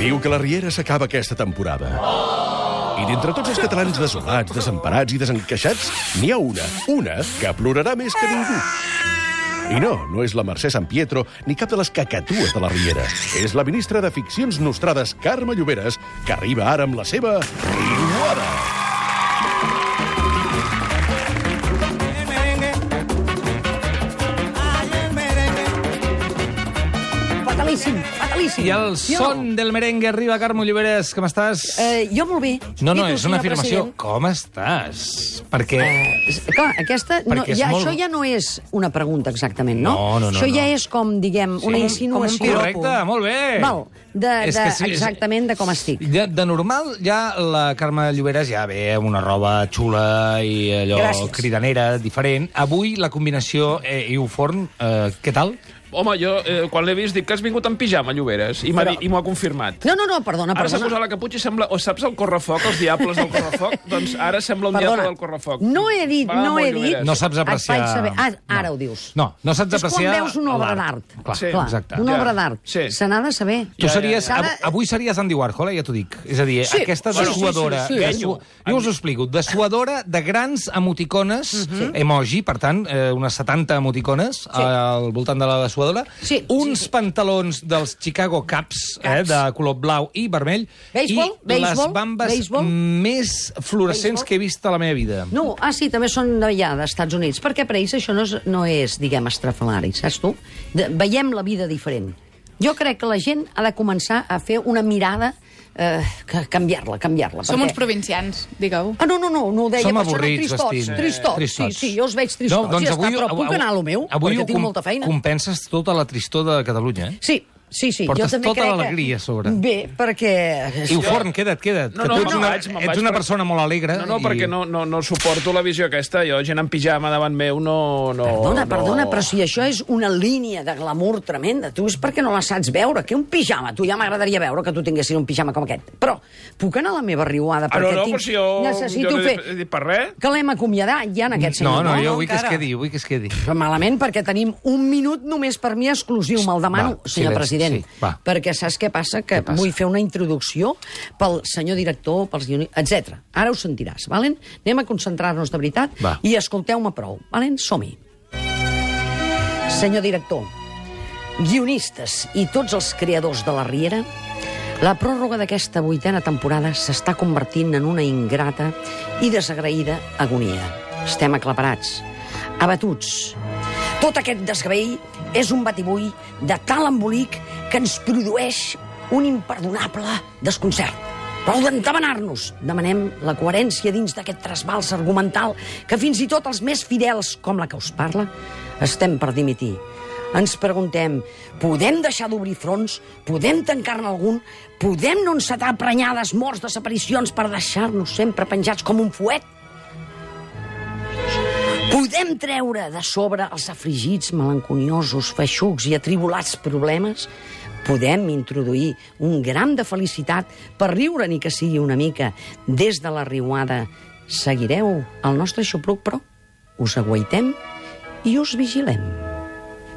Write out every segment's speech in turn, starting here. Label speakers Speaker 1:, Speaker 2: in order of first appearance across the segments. Speaker 1: diu que la Riera s'acaba aquesta temporada. I d'entre tots els catalans desolats, desemparats i desencaixats, n'hi ha una, una, que plorarà més que ningú. I no, no és la Mercè San Pietro ni cap de les cacatues de la Riera. És la ministra de Ficcions Nostrades, Carme Lloberes, que arriba ara amb la seva Riuada.
Speaker 2: el merengue. Ay, el merengue.
Speaker 3: Fatalíssim, fatalíssim.
Speaker 4: I el son del merengue arriba, Carme Lloberes, com estàs?
Speaker 3: Eh, jo molt bé.
Speaker 4: No, no,
Speaker 3: I tu,
Speaker 4: és una
Speaker 3: senyor
Speaker 4: afirmació.
Speaker 3: president?
Speaker 4: Com estàs? Perquè...
Speaker 3: Eh, clar, aquesta... No,
Speaker 4: Perquè és
Speaker 3: ja,
Speaker 4: molt-
Speaker 3: Això ja no és una pregunta, exactament, no?
Speaker 4: No, no, no,
Speaker 3: Això ja
Speaker 4: no.
Speaker 3: és com, diguem, una
Speaker 4: com un
Speaker 3: insinuació.
Speaker 4: piropo. Correcte, molt bé.
Speaker 3: Val, de,
Speaker 4: És
Speaker 3: de,
Speaker 4: que sí, és-
Speaker 3: exactament de com estic.
Speaker 4: De, de normal, ja la Carme Lloberes ja ve amb una roba xula i allò
Speaker 3: Gràcies.
Speaker 4: cridanera, diferent. Avui la combinació eh, i un forn, eh, què tal?
Speaker 5: Home, jo, eh, quan l'he vist, dic que has vingut en pijama, Lloberes, i m'ha
Speaker 3: Però-
Speaker 5: di- i m'ho ha confirmat.
Speaker 3: No, no, no, perdona,
Speaker 5: Ara s'ha
Speaker 3: perdona.
Speaker 5: posat la caputxa i sembla... O saps el correfoc, els diables del correfoc? doncs ara sembla un
Speaker 3: Perdona.
Speaker 5: diable del correfoc.
Speaker 3: No he dit,
Speaker 5: M'agrada
Speaker 3: no
Speaker 5: molt,
Speaker 3: he dit.
Speaker 5: Lloberes.
Speaker 4: No saps apreciar...
Speaker 3: Et faig saber. Ah, ara
Speaker 4: no.
Speaker 3: ho dius.
Speaker 4: No, no saps
Speaker 3: és quan
Speaker 4: apreciar...
Speaker 3: veus una obra
Speaker 4: l'art.
Speaker 3: d'art.
Speaker 4: Clar,
Speaker 5: Sí.
Speaker 3: Clar,
Speaker 4: exacte.
Speaker 3: Una
Speaker 5: Ja.
Speaker 3: obra d'art.
Speaker 5: Sí.
Speaker 3: Se n'ha de saber.
Speaker 4: Tu
Speaker 5: Ja,
Speaker 4: series...
Speaker 3: ja, ja.
Speaker 4: av- Avui series Andy Warhol, eh, ja t'ho dic. És a dir,
Speaker 3: Sí,
Speaker 4: aquesta
Speaker 3: sí,
Speaker 4: dessuadora...
Speaker 3: sí, sí, sí.
Speaker 4: dessu- Jo us ho explico. Dessuadora de grans emoticones,
Speaker 3: Mhm.
Speaker 4: emoji, per tant, eh, unes 70 emoticones al voltant de la dessuadora,
Speaker 3: Sí,
Speaker 4: uns
Speaker 3: sí, sí.
Speaker 4: pantalons dels Chicago Cubs, eh,
Speaker 3: Cubs.
Speaker 4: de color blau i vermell,
Speaker 3: Béisbol,
Speaker 4: i les
Speaker 3: béisbol,
Speaker 4: bambes
Speaker 3: béisbol.
Speaker 4: més fluorescents
Speaker 3: Béisbol.
Speaker 4: que he vist a la meva vida.
Speaker 3: No, ah, sí, també són d'allà, d'Estats Units. Perquè per ells això no és, no és diguem, estrafalari, saps tu? De, veiem la vida diferent. Jo crec que la gent ha de començar a fer una mirada, eh, que- canviar-la, canviar-la.
Speaker 6: Som uns
Speaker 3: perquè-
Speaker 6: provincians, digueu.
Speaker 3: Ah, no, no, no, no ho deia.
Speaker 4: Som
Speaker 3: per això, no,
Speaker 4: avorrits,
Speaker 3: tristots,
Speaker 4: vestint.
Speaker 3: Tristots,
Speaker 4: Tristots.
Speaker 3: sí, sí, jo els veig tristots.
Speaker 4: doncs
Speaker 3: ja
Speaker 4: avui-
Speaker 3: està, però puc
Speaker 4: avui-
Speaker 3: anar a lo meu,
Speaker 4: avui
Speaker 3: perquè
Speaker 4: ho
Speaker 3: tinc
Speaker 4: com-
Speaker 3: molta feina.
Speaker 4: Compenses tota la tristor de Catalunya. eh?
Speaker 3: Sí, sí, sí.
Speaker 4: Portes
Speaker 3: jo també
Speaker 4: tota
Speaker 3: crec
Speaker 4: l'alegria a
Speaker 3: que...
Speaker 4: sobre.
Speaker 3: Bé, perquè...
Speaker 4: I un forn, queda't, queda't.
Speaker 5: No,
Speaker 4: que
Speaker 5: no,
Speaker 4: tu ets
Speaker 5: me'n
Speaker 4: una,
Speaker 5: vaig, me'n
Speaker 4: ets
Speaker 5: vaig,
Speaker 4: una
Speaker 5: perquè-
Speaker 4: persona molt alegre.
Speaker 5: No, no,
Speaker 4: i-
Speaker 5: perquè no, no, no suporto la visió aquesta. Jo, gent en pijama davant meu, no... no
Speaker 3: Perdona,
Speaker 5: Oh, no.
Speaker 3: perdona, però si això és una línia de glamour tremenda, tu és perquè no la saps veure, que un pijama, tu ja m'agradaria veure que tu tinguessis un pijama com aquest. Però puc anar a la meva riuada
Speaker 5: Ah,
Speaker 3: perquè
Speaker 5: no, no,
Speaker 3: tinc...
Speaker 5: però si jo-
Speaker 3: necessito
Speaker 5: jo no he
Speaker 3: fer...
Speaker 5: dit- he dit per res.
Speaker 3: Que l'hem acomiadat ja en aquest
Speaker 4: No,
Speaker 3: senyor.
Speaker 4: no, jo vull que es
Speaker 3: encara.
Speaker 4: quedi, vull que es quedi.
Speaker 3: Però malament, perquè tenim un minut només per mi exclusiu. Me'l demano,
Speaker 4: Va,
Speaker 3: senyor
Speaker 4: silenci,
Speaker 3: president.
Speaker 4: sí, va.
Speaker 3: perquè saps què passa? Que
Speaker 4: Què passa?
Speaker 3: vull fer una introducció pel senyor director, pels guionistes, etc. Ara ho sentiràs, valen? Anem a concentrar-nos de veritat
Speaker 4: Va.
Speaker 3: i escolteu-me prou, valen? Som-hi. Senyor director, guionistes i tots els creadors de la Riera, la pròrroga d'aquesta vuitena temporada s'està convertint en una ingrata i desagraïda agonia. Estem aclaparats, abatuts. Tot aquest desgavell és un batibull de tal embolic que ens produeix un imperdonable desconcert. Prou d'entabanar-nos! Demanem la coherència dins d'aquest trasbals argumental que fins i tot els més fidels, com la que us parla, estem per dimitir. Ens preguntem, podem deixar d'obrir fronts? Podem tancar-ne algun? Podem no encetar prenyades, morts, desaparicions per deixar-nos sempre penjats com un fuet? Podem treure de sobre els afligits, melanconiosos, feixucs i atribulats problemes? Podem introduir un gram de felicitat per riure ni que sigui una mica des de la riuada? Seguireu el nostre xupruc, però us aguaitem i us vigilem.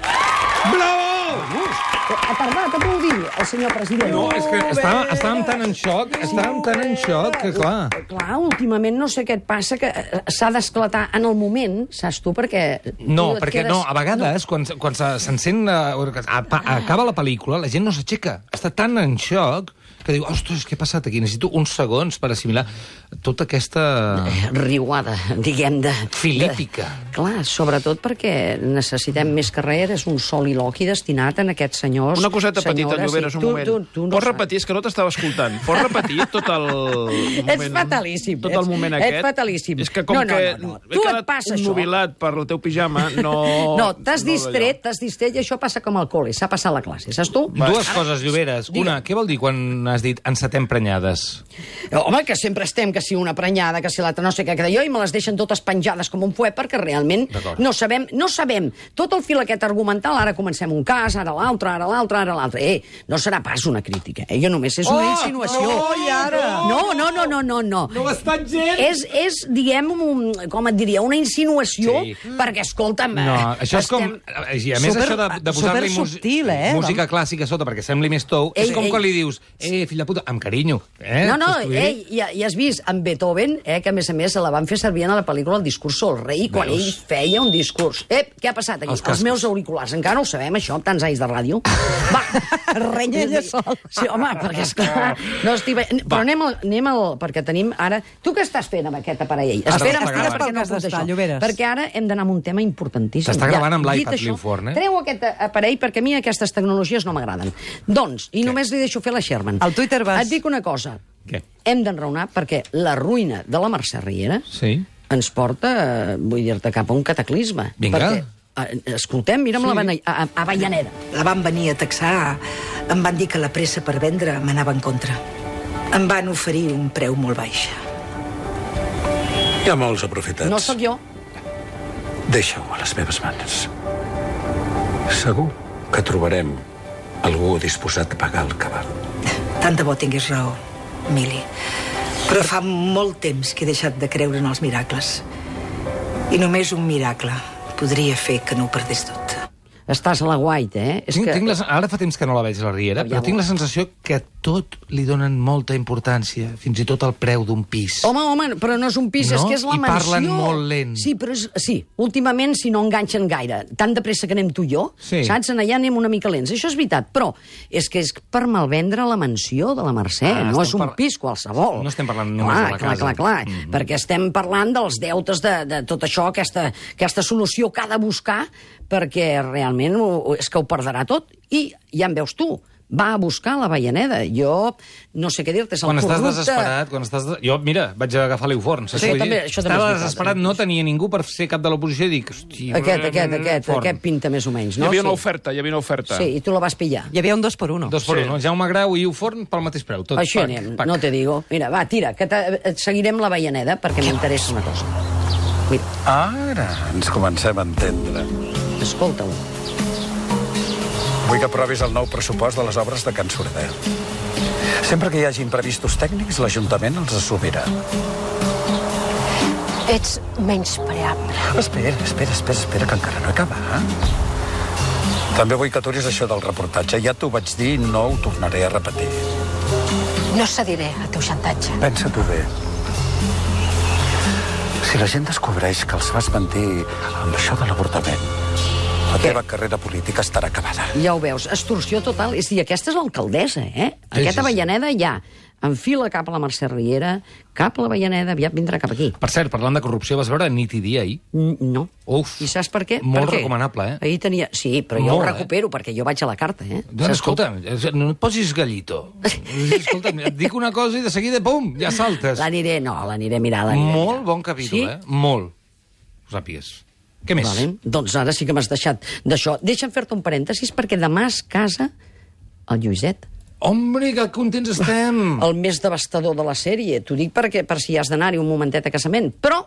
Speaker 3: Bravo! Ha tardat a aplaudir el senyor president.
Speaker 4: No, és que estàvem, estàvem tan en xoc, estàvem tan en xoc que, clar...
Speaker 3: Clar, últimament no sé què et passa, que eh, s'ha d'esclatar en el moment, saps tu, perquè...
Speaker 4: No,
Speaker 3: tu et
Speaker 4: perquè no, a vegades, quan, quan se- s'encén... eh, o que a- pa- Acaba la pel·lícula, la gent no s'aixeca. Està tan en xoc que diu, ostres, què ha passat aquí? Necessito uns segons per assimilar tota aquesta...
Speaker 3: riuada, diguem, de...
Speaker 4: Filípica.
Speaker 3: De, clar, sobretot perquè necessitem més carreres, un sol i loqui destinat en aquests senyors,
Speaker 5: Una coseta petita,
Speaker 3: senyores,
Speaker 5: Lloberes,
Speaker 3: i
Speaker 5: un
Speaker 3: tu,
Speaker 5: moment.
Speaker 3: Tu, tu no
Speaker 5: Pots
Speaker 3: saps.
Speaker 5: repetir? És que no t'estava escoltant. Pots repetir tot el moment...
Speaker 3: Ets fatalíssim,
Speaker 5: Tot
Speaker 3: ets-
Speaker 5: el moment
Speaker 3: ets
Speaker 5: aquest.
Speaker 3: fatalíssim.
Speaker 5: És que com
Speaker 3: No, no,
Speaker 5: que
Speaker 3: no, no.
Speaker 5: he
Speaker 3: Tu et
Speaker 5: quedat
Speaker 3: passa això.
Speaker 5: nubilat per el teu pijama, no...
Speaker 3: No, t'has
Speaker 5: no d'allò.
Speaker 3: distret, t'has distret, i això passa com al col·le, s'ha passat la classe, saps tu?
Speaker 4: Dues coses, Lloberes. Una, què vol dir quan has dit encetem prenyades?
Speaker 3: Home, que sempre estem, que si una prenyada, que si l'altra no sé què, que d'allò, i me les deixen totes penjades com un fuet, perquè realment
Speaker 4: D'acord.
Speaker 3: no sabem, no sabem. Tot el fil aquest argumental, ara comencem un cas, ara l'altre, ara l'altre, ara l'altre. Eh, no serà pas una crítica, eh? jo només és una
Speaker 4: Oh,
Speaker 3: insinuació.
Speaker 4: no, i ara?
Speaker 3: No, no, no, no, no, no.
Speaker 4: ho estan gent!
Speaker 3: És, és, diguem, un, com et diria, una insinuació,
Speaker 4: Sí.
Speaker 3: perquè, escolta'm...
Speaker 4: No,
Speaker 3: eh,
Speaker 4: això és com...
Speaker 3: estem-
Speaker 4: I a més,
Speaker 7: Super-
Speaker 4: això de, de posar-li
Speaker 7: supersubtil, eh?
Speaker 4: música clàssica a sota perquè sembli més tou,
Speaker 3: Doncs.
Speaker 4: és
Speaker 3: Ei,
Speaker 4: com
Speaker 3: ei.
Speaker 4: quan li dius eh, bé, fill de puta, amb carinyo. Eh?
Speaker 3: No, no,
Speaker 4: T'ho vull dir.
Speaker 3: eh, ja, ja has vist amb Beethoven, eh, que a més a més se la van fer servir en la pel·lícula El discurso del rei, quan
Speaker 4: Veus?
Speaker 3: ell feia un discurs. Ep, què ha passat aquí?
Speaker 4: Els
Speaker 3: Els,
Speaker 4: cascos.
Speaker 3: Els meus auriculars, encara no ho sabem, això, amb tants anys de ràdio. Va, renya ella sola. Sí, home, perquè esclar... No estic... bé. Però anem al, anem al... Perquè tenim ara... Tu què estàs fent amb aquest aparell?
Speaker 4: Estàs
Speaker 3: Espera,
Speaker 4: gravant.
Speaker 3: espera,
Speaker 4: Estàs
Speaker 3: perquè
Speaker 6: pel
Speaker 3: no
Speaker 6: cas
Speaker 3: puc
Speaker 6: d'estar,
Speaker 3: això.
Speaker 6: Lloberes.
Speaker 3: Perquè ara hem d'anar amb un tema importantíssim.
Speaker 4: T'està gravant amb
Speaker 3: dit
Speaker 4: l'iPad,
Speaker 3: això,
Speaker 4: l'informe, eh?
Speaker 3: Treu aquest eh, aparell, perquè a mi aquestes tecnologies no m'agraden. Doncs, i només li deixo fer la Sherman.
Speaker 6: Al Twitter vas.
Speaker 3: Et dic una cosa.
Speaker 4: Què?
Speaker 3: Hem d'enraonar perquè la ruïna de la Mercè Riera
Speaker 4: Sí.
Speaker 3: ens porta, eh, vull dir-te, cap a un cataclisme.
Speaker 4: Vinga.
Speaker 3: Perquè, eh, escoltem, mira'm sí. la Avena- a, a, Avellaneda.
Speaker 7: La van venir a taxar. Em van dir que la pressa per vendre m'anava en contra. Em van oferir un preu molt baix.
Speaker 8: Hi ha molts aprofitats.
Speaker 3: No sóc jo.
Speaker 8: Deixa-ho a les meves mans. Segur que trobarem algú disposat a pagar el cabal.
Speaker 7: Tant de bo tingués raó, Mili. Però fa molt temps que he deixat de creure en els miracles. I només un miracle podria fer que no ho perdés tot.
Speaker 3: Estàs a la guaita, eh?
Speaker 4: Tinc, que... tinc la, sen- ara fa temps que no la veig, la Riera, però
Speaker 3: Aviam.
Speaker 4: tinc la sensació que a tot li donen molta importància, fins i tot el preu d'un pis.
Speaker 3: Home, home, però no és un pis,
Speaker 4: No,
Speaker 3: és que és la
Speaker 4: i
Speaker 3: mansió.
Speaker 4: parlen molt lent.
Speaker 3: Sí, però és, sí, últimament, si no enganxen gaire, tan de pressa que anem tu i jo,
Speaker 4: Sí.
Speaker 3: saps? En allà anem una mica lents, això és veritat, però és que és per malvendre la mansió de la Mercè,
Speaker 4: Ah,
Speaker 3: no
Speaker 4: estem
Speaker 3: és un
Speaker 4: par-
Speaker 3: pis qualsevol.
Speaker 4: No estem parlant
Speaker 3: clar,
Speaker 4: només de la
Speaker 3: clar,
Speaker 4: casa. Mhm.
Speaker 3: Clar, clar, mm -hmm. perquè estem parlant dels deutes de, de tot això, aquesta, aquesta solució que ha de buscar, perquè realment ho, ho- és que ho perdrà tot, i ja en veus tu, va a buscar la Vallaneda. Jo no sé què dir-te, és el
Speaker 4: Quan estàs
Speaker 3: corrupte...
Speaker 4: desesperat, quan estàs... De... Jo, mira, vaig agafar l'Euforns.
Speaker 3: Sí, també, això també
Speaker 4: Estava
Speaker 3: és veritat,
Speaker 4: desesperat,
Speaker 3: eh?
Speaker 4: no tenia ningú per ser cap de l'oposició i dic... Hosti,
Speaker 3: Aquest, aquest, aquest,
Speaker 4: Forn.
Speaker 3: aquest pinta més o menys,
Speaker 5: Hi
Speaker 3: no?
Speaker 5: havia una
Speaker 3: Sí.
Speaker 5: oferta, hi havia una oferta.
Speaker 3: Sí, i tu la vas pillar.
Speaker 6: Hi havia un dos per uno.
Speaker 4: Dos per sí. un, el Jaume Grau i Euforn pel mateix preu. Tot,
Speaker 3: Així
Speaker 4: pac,
Speaker 3: anem,
Speaker 4: pac.
Speaker 3: no te digo. Mira, va, tira, que te- et seguirem la Veianeda perquè m'interessa una cosa. Mira,
Speaker 8: Ara ens comencem a entendre.
Speaker 3: escolta-ho.
Speaker 8: Vull que aprovis el nou pressupost de les obres de Can Sorder. Sempre que hi hagi imprevistos tècnics, l'Ajuntament els assumirà.
Speaker 9: Ets menyspreable.
Speaker 8: Espera, espera, espera, espera, que encara no he acabat. eh? També vull que aturis això del reportatge. Ja t'ho vaig dir i no ho tornaré a repetir.
Speaker 9: No cediré al teu xantatge.
Speaker 8: Pensa-t'ho bé. Si la gent descobreix que els vas mentir amb això de l'avortament, la
Speaker 3: Què?
Speaker 8: teva carrera política estarà acabada.
Speaker 3: Ja ho veus, extorsió total. És a dir, aquesta és l'alcaldessa, eh?
Speaker 4: Sí, sí, sí.
Speaker 3: Aquesta Avellaneda ja enfila cap a la Mercè Riera, cap a la Avellaneda, aviat vindrà cap aquí.
Speaker 4: Per cert, parlant de corrupció, vas veure nit i dia ahir?
Speaker 3: N- No.
Speaker 4: Uf.
Speaker 3: I saps per què?
Speaker 4: Molt
Speaker 3: per què?
Speaker 4: recomanable, eh?
Speaker 3: Ahir tenia... Sí, però jo
Speaker 4: Molt,
Speaker 3: ho
Speaker 4: eh?
Speaker 3: recupero, perquè jo vaig a la carta, eh?
Speaker 4: Doncs
Speaker 3: Saps com?
Speaker 4: escolta, no et posis gallito. Escolta, et dic una cosa i de seguida, pum, ja saltes.
Speaker 3: L'aniré, no, l'aniré a mirar. l'aniré a mirar.
Speaker 4: Molt bon capítol,
Speaker 3: Sí?
Speaker 4: eh? Molt. Ho sàpies. Què més?
Speaker 3: Vale? Doncs ara sí que m'has deixat d'això. Deixa'm fer-te un parèntesis, perquè demà es casa el Lluiset,
Speaker 4: Hombre, que contents estem!
Speaker 3: el més devastador de la sèrie. T'ho dic perquè, per si has d'anar-hi un momentet a casament. Però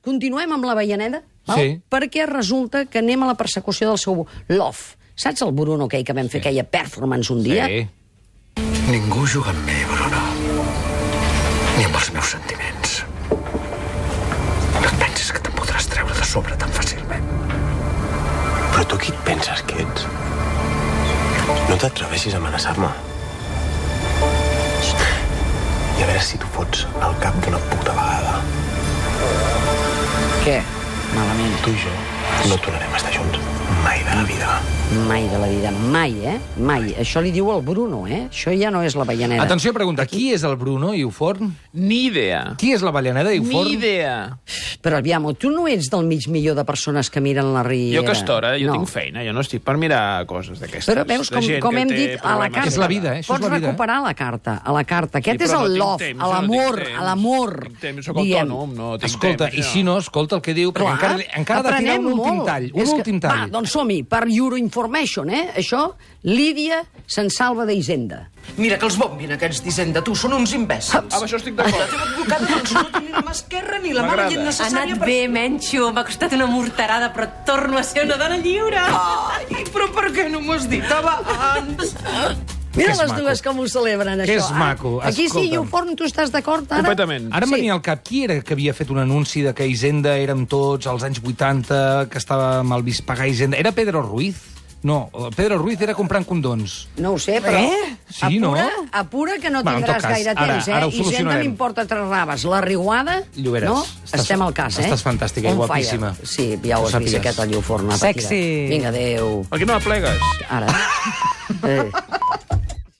Speaker 3: continuem amb la Veianeda, val?
Speaker 4: Sí.
Speaker 3: perquè resulta que anem a la persecució del seu love. Saps el Bruno aquell que vam fer aquella performance un dia?
Speaker 4: Sí.
Speaker 8: Ningú juga amb mi, Bruno. Ni amb els meus sentiments. No et pensis que te'n podràs treure de sobre tan fàcilment.
Speaker 10: Però tu qui et penses que ets? No t'atreveixis a amenaçar-me. I a veure si t'ho fots al cap d'una puta vegada.
Speaker 3: Què? Malament.
Speaker 10: Tu i jo no tornarem a estar junts. Mai de la vida.
Speaker 3: Mai de la vida, mai, eh? Mai. Això li diu el Bruno, eh? Això ja no és la Veianeda.
Speaker 4: Atenció, pregunta, qui és el Bruno i Uforn?
Speaker 5: Ni idea.
Speaker 4: Qui és la Ballaneda i
Speaker 5: Ni
Speaker 4: Uforn?
Speaker 5: idea.
Speaker 3: Però, aviam, tu no ets del mig milió de persones que miren la Riera.
Speaker 5: Jo aquesta hora, jo
Speaker 3: no.
Speaker 5: no. tinc feina, jo no estic per mirar coses d'aquestes.
Speaker 3: Però veus,
Speaker 5: De
Speaker 3: com,
Speaker 5: gent
Speaker 3: com
Speaker 5: que
Speaker 3: hem
Speaker 5: té
Speaker 3: dit, a la
Speaker 5: problemes.
Speaker 3: carta...
Speaker 4: És la vida, eh? Això és
Speaker 3: Pots
Speaker 4: la vida.
Speaker 3: recuperar a la carta, a la carta. Aquest
Speaker 5: Sí,
Speaker 3: és
Speaker 5: però
Speaker 3: el
Speaker 5: no tinc
Speaker 3: love,
Speaker 5: temps,
Speaker 3: a
Speaker 5: no tinc
Speaker 3: l'amor,
Speaker 5: temps,
Speaker 3: a l'amor.
Speaker 5: no tinc temps, sóc
Speaker 3: diguem.
Speaker 5: autònom, no tinc
Speaker 4: Escolta,
Speaker 5: temps,
Speaker 4: i
Speaker 5: no.
Speaker 4: si no, escolta el que diu, perquè
Speaker 3: Clar,
Speaker 4: encara, li- encara ha de tirar
Speaker 3: aprenem
Speaker 4: un últim
Speaker 3: molt.
Speaker 4: tall. Un
Speaker 3: És que-
Speaker 4: últim tall.
Speaker 3: Va, doncs som-hi, per Euroinformation, eh? Això, Lídia se'n salva d'Hisenda.
Speaker 11: Mira que els bombin aquests d'Hisenda, tu, són uns imbècils.
Speaker 5: Ah, Amb això estic d'acord.
Speaker 11: Advocat, doncs no tenen la mà esquerra ni la mà
Speaker 5: M'agrada.
Speaker 11: veient
Speaker 6: Ha
Speaker 11: necessària
Speaker 6: anat bé, Menxo. M'ha costat una morterada, però torno a ser una dona lliure.
Speaker 11: Ai, però per què no m'ho has dit abans?
Speaker 3: Mira
Speaker 4: és
Speaker 3: les
Speaker 4: maco.
Speaker 3: dues com ho celebren,
Speaker 4: Que
Speaker 3: això.
Speaker 4: és
Speaker 3: eh?
Speaker 4: maco,
Speaker 3: Aquí sí,
Speaker 4: escolta'm.
Speaker 3: Iuforn, tu estàs d'acord, ara?
Speaker 5: Completament.
Speaker 4: Ara em
Speaker 3: Sí.
Speaker 4: venia al cap, qui era que havia fet un anunci de que Hisenda érem tots als anys 80, que estava mal vist pagar Hisenda? Era Pedro Ruiz? No, el Pedro Ruiz era comprant condons.
Speaker 3: No ho sé, però...
Speaker 4: Eh? Sí, no?
Speaker 3: apura, apura, que no
Speaker 4: Va, en tot
Speaker 3: tindràs
Speaker 4: cas,
Speaker 3: gaire
Speaker 4: ara-
Speaker 3: temps, eh?
Speaker 4: ara ho
Speaker 3: I si
Speaker 4: solucionarem.
Speaker 3: m'importa tres raves, la riuada...
Speaker 4: Lloberes,
Speaker 3: no?
Speaker 4: estàs-
Speaker 3: Estem al cas, eh?
Speaker 4: estàs fantàstica i
Speaker 3: On
Speaker 4: guapíssima.
Speaker 3: Fire. Sí, ja ho
Speaker 4: Ho
Speaker 3: has vist,
Speaker 4: sàpigues.
Speaker 3: aquest al Lluforn.
Speaker 5: Sexy.
Speaker 3: Vinga, adéu.
Speaker 5: Aquí no aplegues.
Speaker 3: Ara. Eh.